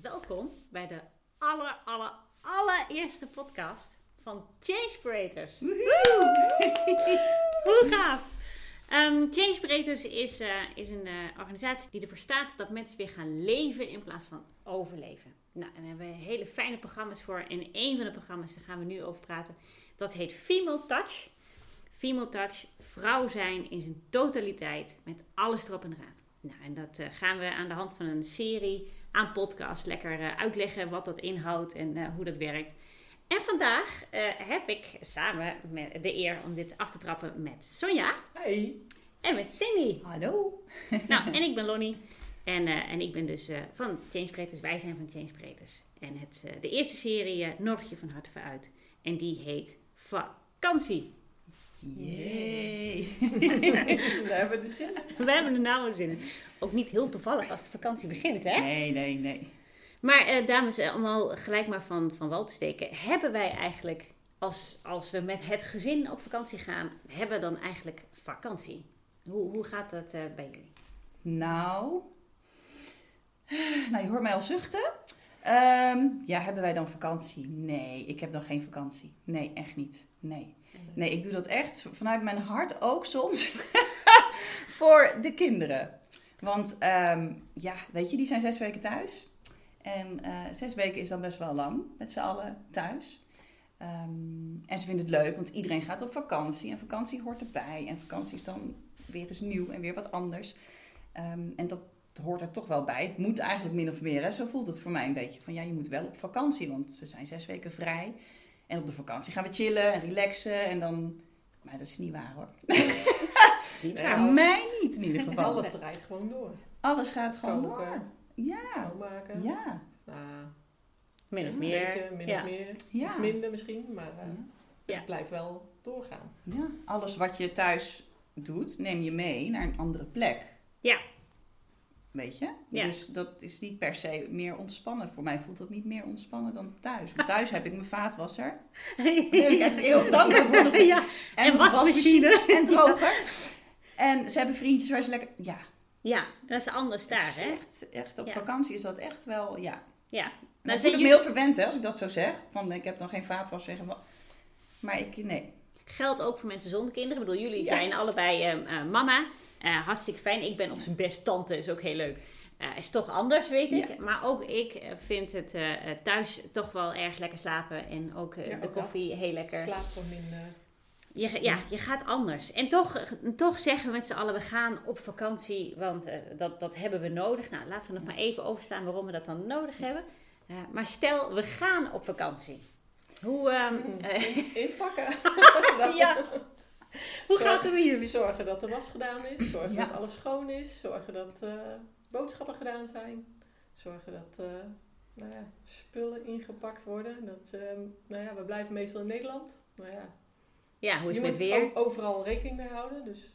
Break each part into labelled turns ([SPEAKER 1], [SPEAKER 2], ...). [SPEAKER 1] Welkom bij de aller, aller, allereerste podcast van Change Creators. Hoe gaaf! Ehm Change Creators is, eh, is een eh, organisatie die ervoor staat dat mensen weer gaan leven in plaats van overleven. Nou, en daar hebben we hele fijne programma's voor. En een van de programma's, daar gaan we nu over praten, dat heet Female Touch. Female Touch, vrouw zijn in zijn totaliteit, met alles erop en eraan. Nou, en dat eh, gaan we aan de hand van een serie aan podcast lekker eh, uitleggen wat dat inhoudt en eh, hoe dat werkt. En vandaag eh, heb ik samen met de eer om dit af te trappen met Sonja
[SPEAKER 2] Hey.
[SPEAKER 1] en met Cindy.
[SPEAKER 2] Hallo.
[SPEAKER 1] Nou, en ik ben Lonnie. En, eh, en ik ben dus eh, van Change Breeders. Wij zijn van Change Breeders. En het, eh, de eerste serie eh, nodig je van harte voor uit. En die heet Vakantie.
[SPEAKER 2] Yay. Daar hebben we de zin.
[SPEAKER 1] We hebben er nou wel zin in. Ook niet heel toevallig als de vakantie begint, hè?
[SPEAKER 2] Nee, nee, nee.
[SPEAKER 1] Maar eh, dames, eh, om al gelijk maar van, van wal te steken. Hebben wij eigenlijk, als, als we met het gezin op vakantie gaan, hebben we dan eigenlijk vakantie? Hoe, hoe gaat dat eh, bij jullie?
[SPEAKER 2] Nou. Nou, je hoort mij al zuchten. Ehm, ja, hebben wij dan vakantie? Nee, ik heb dan geen vakantie. Nee, echt niet. Nee. Nee, ik doe dat echt vanuit mijn hart ook soms voor de kinderen. Want ehm, ja, weet je, die zijn zes weken thuis. En eh, zes weken is dan best wel lang met z'n allen thuis. Ehm, en ze vinden het leuk, want iedereen gaat op vakantie. En vakantie hoort erbij. En vakantie is dan weer eens nieuw en weer wat anders. Ehm, en dat hoort er toch wel bij. Het moet eigenlijk min of meer. Hè? Zo voelt het voor mij een beetje. Van ja, je moet wel op vakantie, want ze zijn zes weken vrij. En op de vakantie gaan we chillen en relaxen. En dan... Maar dat is niet waar hoor.
[SPEAKER 1] Is niet
[SPEAKER 3] Nee.
[SPEAKER 1] waar.
[SPEAKER 3] Nou.
[SPEAKER 2] Mij niet in ieder geval.
[SPEAKER 3] Alles draait gewoon door.
[SPEAKER 2] Alles gaat gewoon door.
[SPEAKER 3] Koken,
[SPEAKER 2] Ja.
[SPEAKER 3] schoonmaken.
[SPEAKER 2] Ja.
[SPEAKER 3] Nou,
[SPEAKER 1] Min of
[SPEAKER 3] een
[SPEAKER 1] meer.
[SPEAKER 3] beetje, min
[SPEAKER 1] Ja.
[SPEAKER 3] of meer.
[SPEAKER 2] Ja.
[SPEAKER 3] Iets minder misschien, maar eh,
[SPEAKER 1] Ja.
[SPEAKER 3] het blijft wel doorgaan.
[SPEAKER 2] ja. Alles wat je thuis doet, neem je mee naar een andere plek.
[SPEAKER 1] Ja.
[SPEAKER 2] Weet je?
[SPEAKER 1] Ja.
[SPEAKER 2] Dus dat is niet per se meer ontspannen. Voor mij voelt dat niet meer ontspannen dan thuis. Want thuis heb ik mijn vaatwasser. Daar ben ik echt heel dankbaar voor. nog steeds.
[SPEAKER 1] Ja. En wasmachine.
[SPEAKER 2] En droger. En ze hebben vriendjes waar ze lekker... Ja,
[SPEAKER 1] ja, dat is anders
[SPEAKER 2] dat
[SPEAKER 1] daar,
[SPEAKER 2] is
[SPEAKER 1] hè?
[SPEAKER 2] Echt, echt op
[SPEAKER 1] Ja.
[SPEAKER 2] vakantie is dat echt wel... Ja,
[SPEAKER 1] Ja. zijn
[SPEAKER 2] Nou, ik me
[SPEAKER 1] jullie-
[SPEAKER 2] heel verwend hè, als ik dat zo zeg. Van ik heb dan geen vaatwasser. en wa- Maar ik, nee.
[SPEAKER 1] geldt ook voor mensen zonder kinderen. Ik bedoel, jullie
[SPEAKER 2] Ja.
[SPEAKER 1] zijn allebei ehm, eh, mama. Eh, hartstikke fijn. Ik ben op zijn best tante, is ook heel leuk. Eh, is toch anders, weet ik.
[SPEAKER 2] Ja.
[SPEAKER 1] Maar ook ik eh, vind het eh, eh, thuis toch wel erg lekker slapen. En ook eh,
[SPEAKER 3] Ja,
[SPEAKER 1] de
[SPEAKER 3] ook
[SPEAKER 1] koffie heel lekker.
[SPEAKER 3] Slaap gewoon minder.
[SPEAKER 1] Je, ga- ja, je gaat anders. En toch, eh, toch zeggen we met z'n allen, we gaan op vakantie, want eh, dat, dat hebben we nodig. Nou, laten we nog maar even overstaan waarom we dat dan nodig hebben. Eh, maar stel, we gaan op vakantie. Hoe, ehm, eh,
[SPEAKER 3] In- Inpakken.
[SPEAKER 1] ja. Hoe
[SPEAKER 3] Zo.
[SPEAKER 1] gaat het met jullie?
[SPEAKER 3] Zorgen dat de was gedaan is. Zorgen
[SPEAKER 2] Ja.
[SPEAKER 3] dat alles schoon is. Zorgen dat eh, boodschappen gedaan zijn. Zorgen dat eh, nou ja, spullen ingepakt worden. Dat, eh, nou ja, we blijven meestal in Nederland. Nou ja,
[SPEAKER 1] Ja, hoe is
[SPEAKER 3] je
[SPEAKER 1] het met
[SPEAKER 3] moet
[SPEAKER 1] weer?
[SPEAKER 3] ook overal rekening mee houden. Dus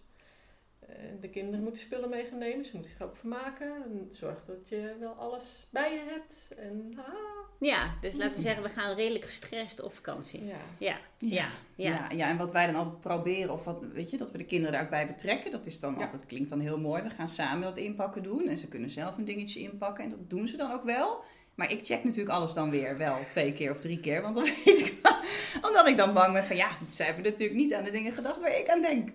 [SPEAKER 3] eh, de kinderen moeten spullen mee gaan nemen. Ze moeten zich ook vermaken. En zorg dat je wel alles bij je hebt. En, ah,
[SPEAKER 1] Ja, dus laten we zeggen, we gaan redelijk gestrest op vakantie.
[SPEAKER 3] ja.
[SPEAKER 1] Ja, ja,
[SPEAKER 2] Ja.
[SPEAKER 1] ja.
[SPEAKER 2] Ja, en wat wij dan altijd proberen, of wat, weet je, dat we de kinderen daar ook bij betrekken, dat is dan
[SPEAKER 3] Ja.
[SPEAKER 2] altijd, klinkt dan heel mooi. We gaan samen dat inpakken doen en ze kunnen zelf een dingetje inpakken en dat doen ze dan ook wel. Maar ik check natuurlijk alles dan weer wel twee keer of drie keer, want dan weet ik wel, omdat ik dan bang ben van ja, zij hebben natuurlijk niet aan de dingen gedacht waar ik aan denk.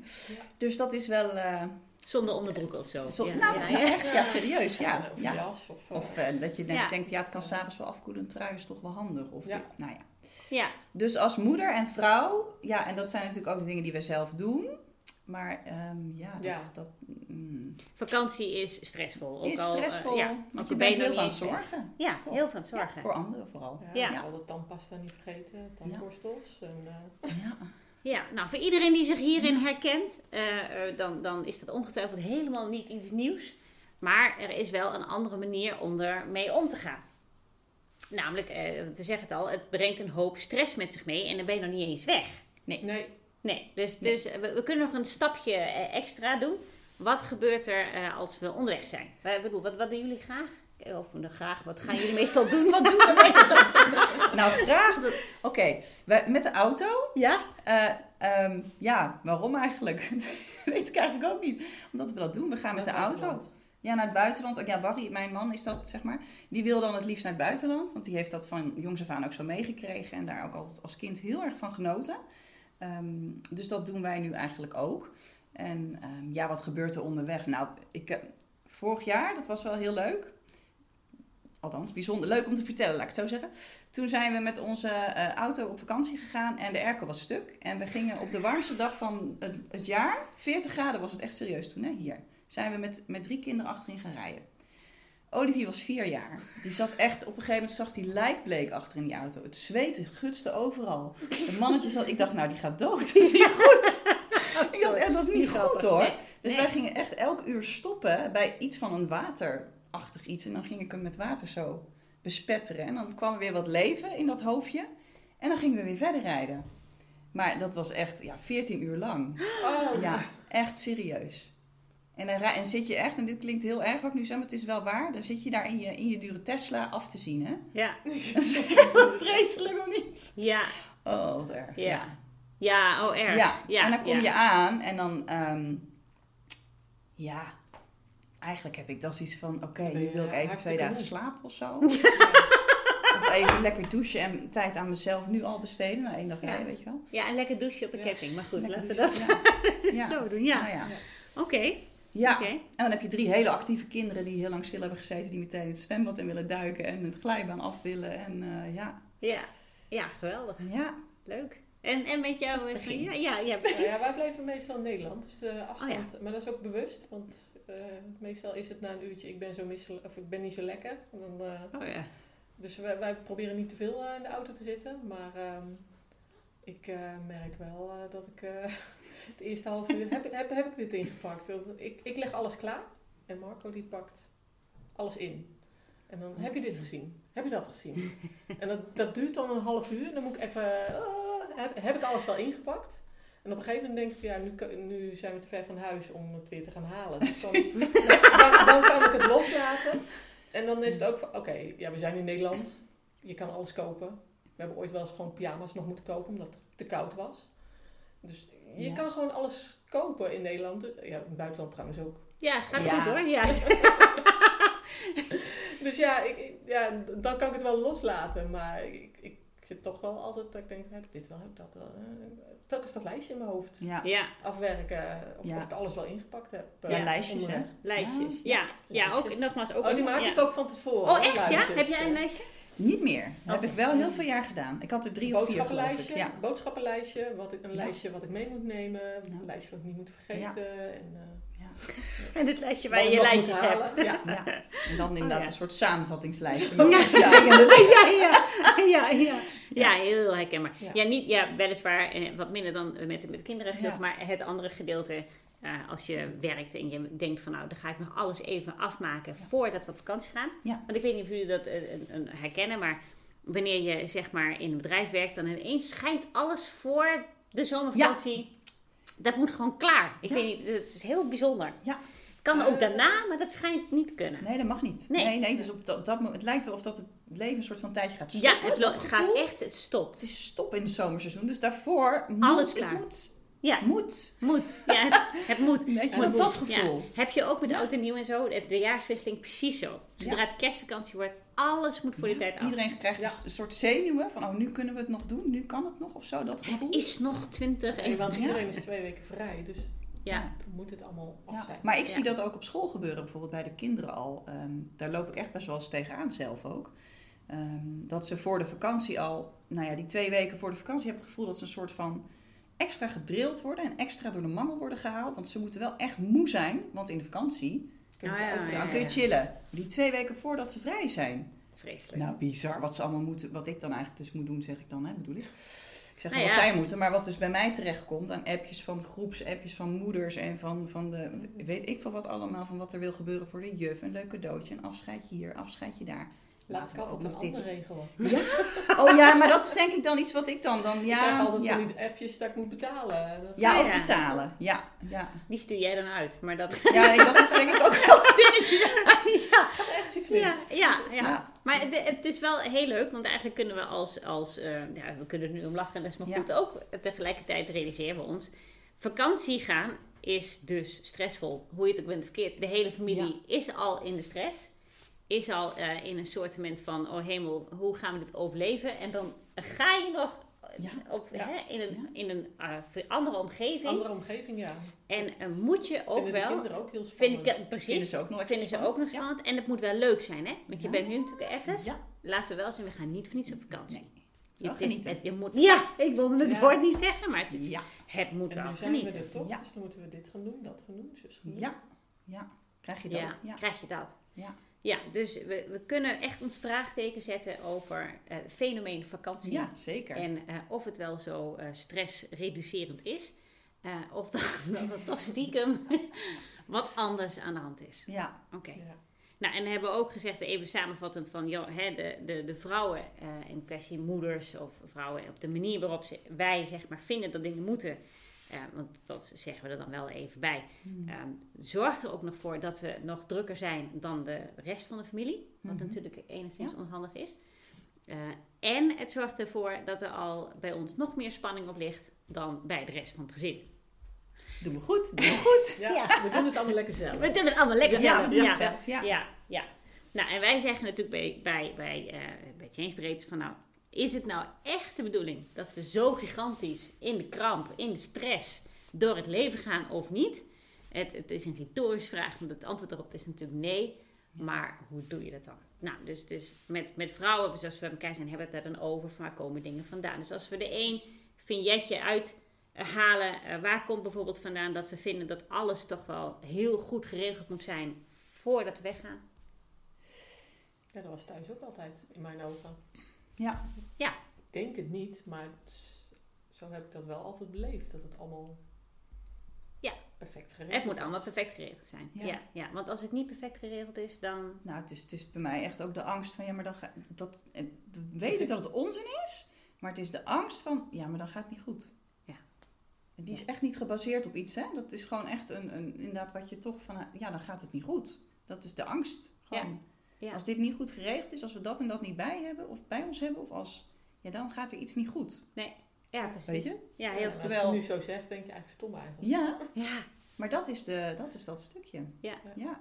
[SPEAKER 2] Dus dat is wel, eh,
[SPEAKER 1] Zonder onderbroek of zo.
[SPEAKER 2] zo-
[SPEAKER 1] ja,
[SPEAKER 2] nou,
[SPEAKER 1] ja,
[SPEAKER 2] nou
[SPEAKER 1] ja.
[SPEAKER 2] echt, ja, serieus, ja.
[SPEAKER 3] Of een
[SPEAKER 2] ja.
[SPEAKER 3] jas. Of, eh,
[SPEAKER 2] Of eh, dat je net
[SPEAKER 1] Ja.
[SPEAKER 2] denkt, ja, het kan s'avonds wel afkoelen, een trui is toch wel handig. Of
[SPEAKER 3] Ja.
[SPEAKER 2] dit, nou ja.
[SPEAKER 1] Ja,
[SPEAKER 2] Dus als moeder en vrouw, ja, en dat zijn natuurlijk ook de dingen die wij zelf doen. Maar ehm, ja, dat,
[SPEAKER 3] Ja.
[SPEAKER 2] dat mm,
[SPEAKER 1] vakantie is stressvol. Ook
[SPEAKER 2] is
[SPEAKER 1] al, eh,
[SPEAKER 2] stressvol.
[SPEAKER 1] ja,
[SPEAKER 2] want
[SPEAKER 1] ook
[SPEAKER 2] je
[SPEAKER 1] al
[SPEAKER 2] bent
[SPEAKER 1] nog
[SPEAKER 2] heel
[SPEAKER 1] niet
[SPEAKER 2] van
[SPEAKER 1] eens-
[SPEAKER 2] zorgen.
[SPEAKER 1] Ja,
[SPEAKER 2] Toch?
[SPEAKER 1] heel van
[SPEAKER 2] Ja,
[SPEAKER 1] zorgen.
[SPEAKER 2] voor anderen vooral.
[SPEAKER 3] ja,
[SPEAKER 1] Ja.
[SPEAKER 3] ja. Al de tandpasta niet vergeten. Tandborstels. En, eh,
[SPEAKER 2] Ja.
[SPEAKER 1] Ja, nou voor iedereen die zich hierin herkent, eh, eh, dan, dan is dat ongetwijfeld helemaal niet iets nieuws. Maar er is wel een andere manier om er mee om te gaan. Namelijk, eh, te zeggen het al, het brengt een hoop stress met zich mee en dan ben je nog niet eens weg.
[SPEAKER 3] nee.
[SPEAKER 1] Nee, dus, dus we, we kunnen nog een stapje eh, extra doen. Wat gebeurt er eh, als we onderweg zijn? Wij- ik bedoel, Wat, wat doen jullie graag? Eh, Of nou, graag, wat gaan jullie meestal doen?
[SPEAKER 2] Wat doen we meestal? nou, graag. dat- Oké, wij- met de auto.
[SPEAKER 1] Ja?
[SPEAKER 2] eh, ehm, ja, waarom eigenlijk? weet ik eigenlijk ook niet. Omdat we dat doen. We gaan met de
[SPEAKER 3] Dat maakt
[SPEAKER 2] auto.
[SPEAKER 3] wat.
[SPEAKER 2] Ja, naar het buitenland. Ja, Barry, mijn man is dat, zeg maar. Die wil dan het liefst naar het buitenland. Want die heeft dat van jongs af aan ook zo meegekregen. En daar ook altijd als kind heel erg van genoten. Ehm, dus dat doen wij nu eigenlijk ook. En ehm, ja, wat gebeurt er onderweg? Nou, ik, eh, vorig jaar, dat was wel heel leuk. Althans, bijzonder leuk om te vertellen, laat ik het zo zeggen. Toen zijn we met onze eh, auto op vakantie gegaan en de airco was stuk. En we gingen op de warmste dag van het, het jaar, 40 graden was het echt serieus toen, hè, hier zijn we met, met drie kinderen achterin gaan rijden. Olivier was vier jaar. Die zat echt, op een gegeven moment zag hij lijkbleek achter in die auto. Het zweet gutste overal. Het mannetje zat, ik dacht, nou die gaat dood. Is niet goed? Ik dacht, echt, dat is niet goed hoor.
[SPEAKER 1] Nee,
[SPEAKER 2] Dus
[SPEAKER 1] nee.
[SPEAKER 2] wij gingen echt elk uur stoppen bij iets van een waterachtig iets. En dan ging ik hem met water zo bespetteren. En dan kwam er weer wat leven in dat hoofdje. En dan gingen we weer verder rijden. Maar dat was echt ja, 14 uur lang.
[SPEAKER 3] Oh,
[SPEAKER 2] Ja, echt serieus. En dan ra- en zit je echt, en dit klinkt heel erg wat ik nu zeg, maar het is wel waar. Dan zit je daar in je, in je dure Tesla af te zien, hè?
[SPEAKER 1] Ja.
[SPEAKER 2] Dat is echt vreselijk of niet?
[SPEAKER 1] Ja.
[SPEAKER 2] Oh, wat erg.
[SPEAKER 1] Ja. Ja, oh erg.
[SPEAKER 2] Ja. en dan kom
[SPEAKER 1] ja.
[SPEAKER 2] je aan en dan, ehm, ja, eigenlijk heb ik dan zoiets van, oké, nu
[SPEAKER 3] Nee,
[SPEAKER 2] wil ik
[SPEAKER 3] ja,
[SPEAKER 2] even twee
[SPEAKER 3] hartstikke
[SPEAKER 2] dagen
[SPEAKER 3] moe.
[SPEAKER 2] slapen of zo. Of even lekker douchen en tijd aan mezelf nu al besteden. Nou, één dag
[SPEAKER 1] Ja.
[SPEAKER 2] rijden, weet je wel.
[SPEAKER 1] Ja, en lekker douchen op een
[SPEAKER 3] Ja.
[SPEAKER 1] camping. Maar goed,
[SPEAKER 2] Lekker
[SPEAKER 1] laten we dat
[SPEAKER 2] douchen, Ja.
[SPEAKER 1] zo doen. Ja,
[SPEAKER 2] Nou ja.
[SPEAKER 1] oké.
[SPEAKER 2] Ja,
[SPEAKER 1] oké.
[SPEAKER 2] En dan heb je drie hele actieve kinderen die heel lang stil hebben gezeten, die meteen het zwembad in willen duiken en het glijbaan af willen. En eh, ja,
[SPEAKER 1] Ja. ja, geweldig.
[SPEAKER 2] ja,
[SPEAKER 1] Leuk. En, en met jou
[SPEAKER 2] Dat is het
[SPEAKER 1] eh,
[SPEAKER 2] begin.
[SPEAKER 1] Ja, ja, ja.
[SPEAKER 3] Nou ja, wij blijven meestal in Nederland, dus de afstand. Maar dat is ook bewust, want eh, meestal is het na een uurtje, ik ben, zo missel- of ik ben niet zo lekker. En Dan, eh,
[SPEAKER 1] Oh ja.
[SPEAKER 3] dus wij, wij proberen niet te veel eh, in de auto te zitten. Maar ehm, ik eh, merk wel eh, dat ik eh het eerste half uur heb, heb, heb ik dit ingepakt. Want ik, ik leg alles klaar en Marco die pakt alles in. En dan heb je dit gezien, heb je dat gezien. En dat, dat duurt dan een half uur. En dan moet ik even, ah, heb, heb ik alles wel ingepakt? En op een gegeven moment denk ik, van, ja, nu, kan- nu zijn we te ver van huis om het weer te gaan halen. Dus dan, dan, dan kan ik het loslaten. En dan is het ook van, oké, ja, we zijn in Nederland. Je kan alles kopen. We hebben ooit wel eens gewoon pyjama's nog moeten kopen omdat het te koud was. Dus je
[SPEAKER 2] Ja.
[SPEAKER 3] kan gewoon alles kopen in Nederland. Ja, in het buitenland trouwens ook.
[SPEAKER 1] Ja, gaat
[SPEAKER 2] Ja.
[SPEAKER 1] goed hoor. Ja.
[SPEAKER 3] Dus ja, ik, ik- ja, dan kan ik het wel loslaten. Maar ik, ik zit toch wel altijd dat ik denk, heb ik dit wel, heb ik dat wel. Eh, Telkens dat lijstje in mijn hoofd
[SPEAKER 2] ja.
[SPEAKER 1] ja,
[SPEAKER 3] afwerken. Of,
[SPEAKER 2] Ja.
[SPEAKER 3] of ik alles wel ingepakt heb. eh,
[SPEAKER 2] Ja, lijstjes
[SPEAKER 3] onderweg.
[SPEAKER 2] hè.
[SPEAKER 1] lijstjes. Ja, ja ook,
[SPEAKER 3] Lijstjes.
[SPEAKER 1] nogmaals. Ook
[SPEAKER 3] Oh, die
[SPEAKER 1] als-
[SPEAKER 3] maak
[SPEAKER 1] ja.
[SPEAKER 3] ik ook van tevoren.
[SPEAKER 1] Oh
[SPEAKER 3] hoor,
[SPEAKER 1] echt, ja?
[SPEAKER 3] lijstjes.
[SPEAKER 1] Heb jij een lijstje?
[SPEAKER 2] Niet meer. Dat heb
[SPEAKER 3] Oké.
[SPEAKER 2] ik wel heel veel jaar gedaan. Ik had er drie of vier geloof ik.
[SPEAKER 3] boodschappenlijstje,
[SPEAKER 2] Ja.
[SPEAKER 3] boodschappenlijstje wat ik, een
[SPEAKER 2] Ja.
[SPEAKER 3] lijstje wat ik mee moet nemen,
[SPEAKER 2] Ja.
[SPEAKER 3] een lijstje wat ik niet moet vergeten. En, eh,
[SPEAKER 1] En dit lijstje
[SPEAKER 3] wat
[SPEAKER 1] waar je
[SPEAKER 3] ik
[SPEAKER 1] je
[SPEAKER 3] nog moet
[SPEAKER 1] lijstjes
[SPEAKER 3] halen.
[SPEAKER 1] hebt.
[SPEAKER 3] Ja.
[SPEAKER 2] ja. En dan inderdaad
[SPEAKER 1] Oh ja.
[SPEAKER 2] een soort samenvattingslijstje.
[SPEAKER 3] Zo.
[SPEAKER 2] met
[SPEAKER 1] Ja.
[SPEAKER 2] onderscheidende-
[SPEAKER 1] ja, ja, ja, ja. Ja, heel herkenbaar. Ja,
[SPEAKER 3] Ja.
[SPEAKER 1] niet, ja weliswaar eh, wat minder dan met, met kinderen gedeelte,
[SPEAKER 2] Ja.
[SPEAKER 1] maar het andere gedeelte. eh, als je werkt en je denkt van nou, dan ga ik nog alles even afmaken voordat we op vakantie gaan.
[SPEAKER 2] Ja.
[SPEAKER 1] Want ik weet niet of jullie dat eh, een- een herkennen, maar wanneer je zeg maar in een bedrijf werkt, dan ineens schijnt alles voor de zomervakantie. Dat moet gewoon klaar. Ik
[SPEAKER 2] Ja.
[SPEAKER 1] weet niet, dat is heel bijzonder.
[SPEAKER 2] Ja.
[SPEAKER 1] Kan ook
[SPEAKER 3] Eh,
[SPEAKER 1] daarna, maar dat schijnt niet te kunnen.
[SPEAKER 2] Nee, dat mag niet.
[SPEAKER 1] Nee.
[SPEAKER 2] Nee, nee, het, is op dat, dat moment, het lijkt wel of dat het leven een soort van tijdje gaat stoppen.
[SPEAKER 1] ja, het lo-
[SPEAKER 2] dat
[SPEAKER 1] gaat
[SPEAKER 2] gevoel.
[SPEAKER 1] echt, het stopt.
[SPEAKER 2] Het is stop in het zomerseizoen, dus daarvoor moet,
[SPEAKER 1] Alles
[SPEAKER 2] het
[SPEAKER 1] klaar.
[SPEAKER 2] moet,
[SPEAKER 1] Ja,
[SPEAKER 2] moet.
[SPEAKER 1] Moet. Ja, het, het moet.
[SPEAKER 2] Weet je,
[SPEAKER 1] Moet.
[SPEAKER 2] dat, dat
[SPEAKER 1] Ja.
[SPEAKER 2] gevoel.
[SPEAKER 1] Heb je ook met oud en nieuw en zo, het- de jaarswisseling precies zo. Zodra het kerstvakantie wordt, alles moet voor die tijd af.
[SPEAKER 2] Iedereen krijgt
[SPEAKER 3] Ja.
[SPEAKER 2] een s- een soort zenuwen van, oh, nu kunnen we het nog doen, nu kan het nog of zo, dat
[SPEAKER 1] Het
[SPEAKER 2] gevoel.
[SPEAKER 1] is nog 20
[SPEAKER 3] Nee,
[SPEAKER 1] en...
[SPEAKER 3] want iedereen is twee weken vrij, dus
[SPEAKER 1] Ja.
[SPEAKER 3] dan moet het allemaal af
[SPEAKER 2] Ja.
[SPEAKER 3] zijn.
[SPEAKER 2] Maar ik zie
[SPEAKER 1] Ja.
[SPEAKER 2] dat ook op school gebeuren, bijvoorbeeld bij de kinderen al. Ehm, daar loop ik echt best wel eens tegenaan zelf ook. Ehm, dat ze voor de vakantie al, nou ja, die twee weken voor de vakantie, heb het gevoel dat ze een soort van extra gedrild worden en extra door de mangel worden gehaald. Want ze moeten wel echt moe zijn, want in de vakantie
[SPEAKER 3] Kunnen
[SPEAKER 1] Ah,
[SPEAKER 3] ze
[SPEAKER 1] ja,
[SPEAKER 3] uitrusten.
[SPEAKER 2] dan kun je chillen. Die twee weken voordat ze vrij zijn.
[SPEAKER 1] Vreselijk.
[SPEAKER 2] Nou, bizar wat ze allemaal moeten, wat ik dan eigenlijk dus moet doen, zeg ik dan, hè, bedoel ik. Ik zeg
[SPEAKER 1] Nou
[SPEAKER 2] wat
[SPEAKER 1] ja.
[SPEAKER 2] zij moeten, maar wat dus bij mij terechtkomt aan appjes van groeps, appjes van moeders en van, van de, weet ik veel wat allemaal, van wat er wil gebeuren voor de juf. Een leuk cadeautje, een afscheidje hier, afscheidje daar.
[SPEAKER 3] Laat ik altijd een ander regelen.
[SPEAKER 2] Oh ja, maar dat is denk ik dan iets wat ik dan, dan
[SPEAKER 3] ik krijg
[SPEAKER 2] ja,
[SPEAKER 3] altijd
[SPEAKER 2] ja,
[SPEAKER 3] van die appjes dat ik moet betalen. Dat-
[SPEAKER 2] ja,
[SPEAKER 1] Ja,
[SPEAKER 2] ook
[SPEAKER 1] ja.
[SPEAKER 2] betalen. Ja, ja.
[SPEAKER 1] Die stuur jij dan uit, maar dat...
[SPEAKER 2] Ja, ik- dat is denk ik ook wel een dingetje.
[SPEAKER 1] ja,
[SPEAKER 3] Gaat echt iets mis.
[SPEAKER 1] ja, ja, ja.
[SPEAKER 2] Ja.
[SPEAKER 1] Maar het, het is wel heel leuk, want eigenlijk kunnen we als... als eh, ja, we kunnen er nu om lachen, dat is maar
[SPEAKER 2] Ja.
[SPEAKER 1] goed. Ook tegelijkertijd realiseren we ons... Vakantie gaan is dus stressvol. Hoe je het ook bent of verkeerd. De hele familie is al in de stress. Is al eh, in een soortement van, oh hemel, hoe gaan we dit overleven? En dan ga je nog eh,
[SPEAKER 2] Ja.
[SPEAKER 1] op,
[SPEAKER 3] Ja.
[SPEAKER 1] Hè, in een, in een eh, andere omgeving.
[SPEAKER 3] Andere omgeving, ja.
[SPEAKER 1] En eh, moet je ook
[SPEAKER 3] Vinden de
[SPEAKER 1] wel...
[SPEAKER 3] kinderen ook heel
[SPEAKER 1] Vind
[SPEAKER 3] spannend.
[SPEAKER 1] ik dat precies.
[SPEAKER 2] Vinden ze ook nog extra
[SPEAKER 1] Vinden ze ook nog
[SPEAKER 2] spannend. Ja.
[SPEAKER 1] spannend. En het moet wel leuk zijn, hè? Want je
[SPEAKER 2] Ja.
[SPEAKER 1] bent nu natuurlijk ergens.
[SPEAKER 2] Ja.
[SPEAKER 1] Laten we wel zijn, we gaan niet voor niets op vakantie.
[SPEAKER 2] Nee.
[SPEAKER 1] Je,
[SPEAKER 2] Wel
[SPEAKER 1] het is-
[SPEAKER 2] genieten.
[SPEAKER 1] het- je moet, ja, ik wilde het
[SPEAKER 3] Ja.
[SPEAKER 1] woord niet zeggen, maar het, is,
[SPEAKER 2] Ja,
[SPEAKER 1] het moet
[SPEAKER 3] En
[SPEAKER 1] wel
[SPEAKER 3] nu zijn we
[SPEAKER 1] genieten.
[SPEAKER 3] er toch,
[SPEAKER 2] Ja.
[SPEAKER 3] dus dan moeten we dit gaan doen, dat gaan doen, zus gaan doen.
[SPEAKER 2] ja, ja. Krijg je dat?
[SPEAKER 1] Ja,
[SPEAKER 2] Ja.
[SPEAKER 1] krijg je dat.
[SPEAKER 2] Ja.
[SPEAKER 1] Ja, dus we, we kunnen echt ons vraagteken zetten over eh, het fenomeen vakantie.
[SPEAKER 2] Ja, zeker.
[SPEAKER 1] En eh, of het wel zo eh, stressreducerend is. eh, of dat, dat het toch stiekem wat anders aan de hand is.
[SPEAKER 2] Ja,
[SPEAKER 1] Oké.
[SPEAKER 3] Ja.
[SPEAKER 1] Nou, en hebben we ook gezegd, even samenvattend, van joh, hè, de, de, de vrouwen eh, in kwestie, moeders of vrouwen, op de manier waarop ze, wij zeg maar, vinden dat dingen moeten, eh, want dat zeggen we er dan wel even bij, ehm, zorgt er ook nog voor dat we nog drukker zijn dan de rest van de familie, wat
[SPEAKER 2] Mhm.
[SPEAKER 1] natuurlijk enigszins
[SPEAKER 2] Ja.
[SPEAKER 1] onhandig is. Eh, en het zorgt ervoor dat er al bij ons nog meer spanning op ligt dan bij de rest van het gezin.
[SPEAKER 2] doen we goed. Doen we goed.
[SPEAKER 3] Ja, we doen het allemaal lekker zelf.
[SPEAKER 1] We doen het allemaal lekker
[SPEAKER 2] Dus ja,
[SPEAKER 1] zelf.
[SPEAKER 2] we doen het zelf. Ja.
[SPEAKER 1] Dus Ja. ja, Nou, en wij zeggen natuurlijk bij, bij, bij, eh bij Change Breed van nou, is het nou echt de bedoeling dat we zo gigantisch in de kramp, in de stress door het leven gaan of niet? Het, het is een retorische vraag, want het antwoord erop is natuurlijk nee. Maar hoe doe je dat dan? Nou, dus, dus met, met vrouwen, zoals we bij elkaar zijn, hebben we het daar dan over. Van waar komen dingen vandaan? Dus als we de één vignetje uit eh, halen. eh, waar komt bijvoorbeeld vandaan dat we vinden dat alles toch wel heel goed geregeld moet zijn voordat we weggaan?
[SPEAKER 3] Ja, dat was thuis ook altijd, in mijn ogen.
[SPEAKER 2] Ja.
[SPEAKER 1] Ja.
[SPEAKER 3] Ik denk het niet, maar s- zo heb ik dat wel altijd beleefd. Dat het allemaal
[SPEAKER 1] Ja.
[SPEAKER 3] perfect geregeld
[SPEAKER 1] Het moet
[SPEAKER 3] is.
[SPEAKER 1] allemaal perfect geregeld zijn. Ja.
[SPEAKER 2] Ja.
[SPEAKER 1] Ja, want als het niet perfect geregeld is, dan.
[SPEAKER 2] Nou, het is, het is bij mij echt ook de angst van, ja, maar dan ga, dat, eh, dat weet ik dat het onzin is, maar het is de angst van, ja, maar dan gaat het niet goed.
[SPEAKER 1] Ja.
[SPEAKER 2] En die is echt niet gebaseerd op iets, hè? Dat is gewoon echt een, een inderdaad wat je toch van, ja, dan gaat het niet goed. Dat is de angst. Gewoon.
[SPEAKER 1] Ja. Ja.
[SPEAKER 2] Als dit niet goed geregeld is, als we dat en dat niet bij hebben, of bij ons hebben, of als, ja, dan gaat er iets niet goed.
[SPEAKER 1] Ja, precies.
[SPEAKER 2] Weet je?
[SPEAKER 1] Ja, heel goed.
[SPEAKER 3] Ja, als je
[SPEAKER 2] terwijl-
[SPEAKER 3] het nu zo zegt, denk je eigenlijk stom eigenlijk.
[SPEAKER 2] Ja.
[SPEAKER 1] Ja.
[SPEAKER 2] Maar dat is, de, dat, is dat stukje.
[SPEAKER 1] Ja.
[SPEAKER 2] Ja.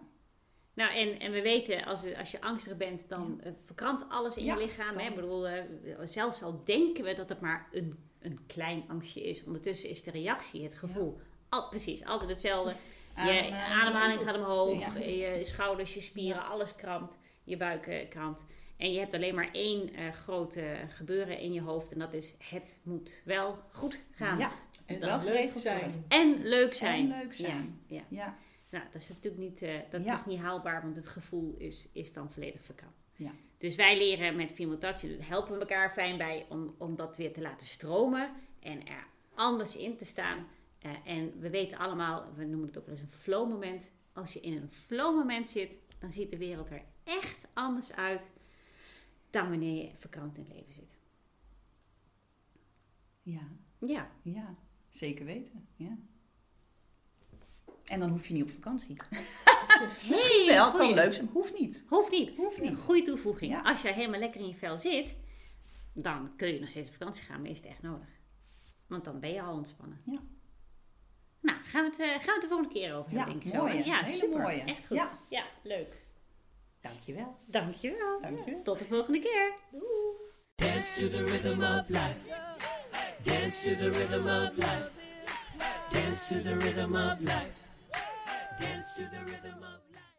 [SPEAKER 1] Nou, en, en we weten, als, als je angstig bent, dan eh, verkrampt alles in
[SPEAKER 2] Ja,
[SPEAKER 1] je lichaam. Hè? Ik
[SPEAKER 2] verkrampt.
[SPEAKER 1] bedoel, eh, zelfs al denken we dat het maar een, een klein angstje is. Ondertussen is de reactie, het gevoel, al, precies, altijd hetzelfde. Je ademhaling gaat omhoog,
[SPEAKER 2] eh, Ja.
[SPEAKER 1] je schouders, je spieren, alles krampt, je buik eh, krampt. En je hebt alleen maar één eh grote gebeuren in je hoofd en dat is het moet wel goed gaan.
[SPEAKER 2] Ja,
[SPEAKER 3] En
[SPEAKER 2] wel
[SPEAKER 3] dan leuk
[SPEAKER 2] geregeld
[SPEAKER 3] zijn.
[SPEAKER 2] worden.
[SPEAKER 1] En leuk zijn.
[SPEAKER 2] En leuk zijn.
[SPEAKER 1] Ja, ja.
[SPEAKER 2] Ja.
[SPEAKER 1] Nou, dat is natuurlijk niet, eh, dat
[SPEAKER 2] Ja.
[SPEAKER 1] is niet haalbaar, want het gevoel is, is dan volledig verkrampt.
[SPEAKER 2] Ja.
[SPEAKER 1] Dus wij leren met Female Touch, daar helpen we elkaar fijn bij om, om dat weer te laten stromen en er anders in te staan. Eh, en we weten allemaal, we noemen het ook wel eens een flow moment. Als je in een flow moment zit, dan ziet de wereld er echt anders uit dan wanneer je verkrampt in het leven zit.
[SPEAKER 2] Ja.
[SPEAKER 1] Ja,
[SPEAKER 2] Ja, zeker weten. Ja. En dan hoef je niet op vakantie. Misschien
[SPEAKER 1] Hey,
[SPEAKER 2] wel, kan
[SPEAKER 1] goeie.
[SPEAKER 2] leuk zijn, hoeft niet.
[SPEAKER 1] hoeft niet.
[SPEAKER 2] Hoeft
[SPEAKER 1] Een
[SPEAKER 2] niet.
[SPEAKER 1] goede toevoeging.
[SPEAKER 2] Ja.
[SPEAKER 1] Als jij helemaal lekker in je vel zit, dan kun je nog steeds op vakantie gaan, maar is het echt nodig. Want dan ben je al ontspannen.
[SPEAKER 2] Ja.
[SPEAKER 1] Nou, gaan we het, eh, gaan we het de volgende keer over hebben,
[SPEAKER 2] Ja,
[SPEAKER 1] denk ik zo.
[SPEAKER 2] mooie.
[SPEAKER 1] hè? Ja,
[SPEAKER 2] Hele
[SPEAKER 1] super.
[SPEAKER 2] mooie.
[SPEAKER 1] Echt goed. Ja,
[SPEAKER 2] Ja.
[SPEAKER 1] leuk.
[SPEAKER 2] Dankjewel.
[SPEAKER 1] Dankjewel.
[SPEAKER 2] Dankjewel.
[SPEAKER 1] Tot de volgende keer. Doei.
[SPEAKER 4] Dance to the rhythm of life. Dance to the rhythm of life. Dance to the rhythm of life. Dance to the rhythm of life.